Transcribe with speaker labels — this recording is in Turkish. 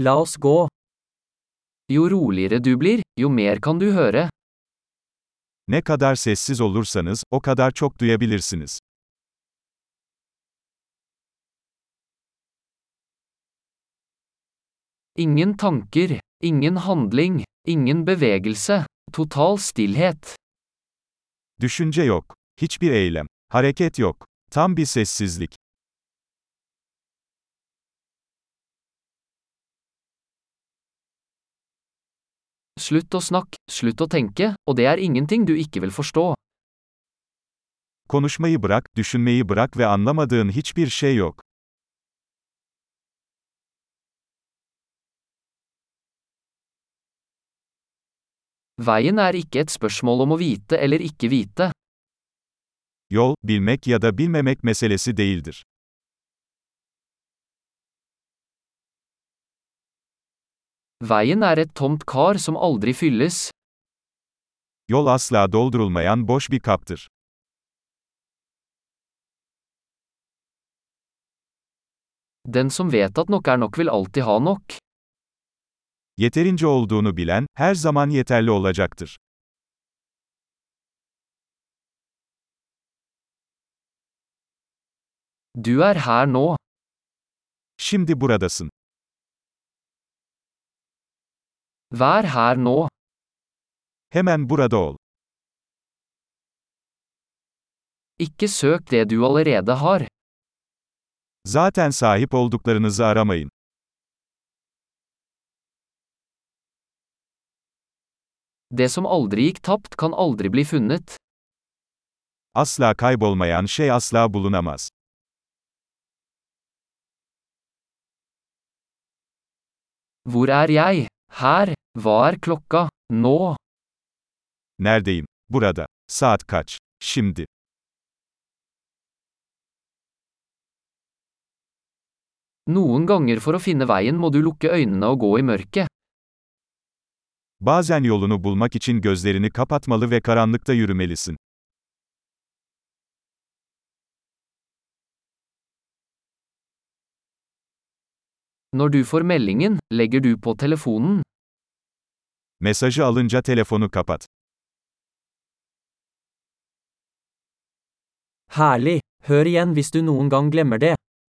Speaker 1: La oss gå. Jo roligere du blir, jo mer kan du høre.
Speaker 2: Ne kadar sessiz olursanız, o kadar çok duyabilirsiniz.
Speaker 1: Ingen tanker, ingen handling, ingen bevegelse, total stillhet.
Speaker 2: Düşünce yok. Hiçbir eylem. Hareket yok. Tam bir sessizlik.
Speaker 1: Slutt å snakke, slutt å tenke, og det er ingenting du ikke vil forstå.
Speaker 2: Konuşmayı bırak, düşünmeyi bırak ve anlamadığın hiçbir şey yok.
Speaker 1: Veien er ikke et spørsmål om å vite eller ikke vite.
Speaker 2: Yol, bilmek ya da bilmemek meselesi değildir.
Speaker 1: Veien er et tomt kar som aldri fylles.
Speaker 2: Yol asla doldurulmayan boş bir kaptır.
Speaker 1: Den som vet at nok er nok, vil alltid ha nok.
Speaker 2: Yeterince olduğunu bilen, her zaman yeterli olacaktır.
Speaker 1: Du er her nå.
Speaker 2: Şimdi buradasın.
Speaker 1: Vær her nå.
Speaker 2: Hemen burada ol.
Speaker 1: Ikke søk det du allerede har.
Speaker 2: Zaten sahip olduklarınızı aramayın.
Speaker 1: Det som aldri gikk tapt, kan aldri bli funnet.
Speaker 2: Asla kaybolmayan şey asla bulunamaz.
Speaker 1: Hvor er jeg? Her. Hva er klokka? Nå.
Speaker 2: Neredeyim? Burada. Saat kaç? Şimdi.
Speaker 1: Noen ganger for å finne veien må du lukke øynene og gå i mørket.
Speaker 2: Bazen yolunu bulmak için gözlerini kapatmalı ve karanlıkta yürümelisin.
Speaker 1: Når du får meldingen, legger du på telefonen.
Speaker 2: Mesajı alınca telefonu kapat.
Speaker 1: Herlig! Hør igjen hvis du noen gang glemmer det.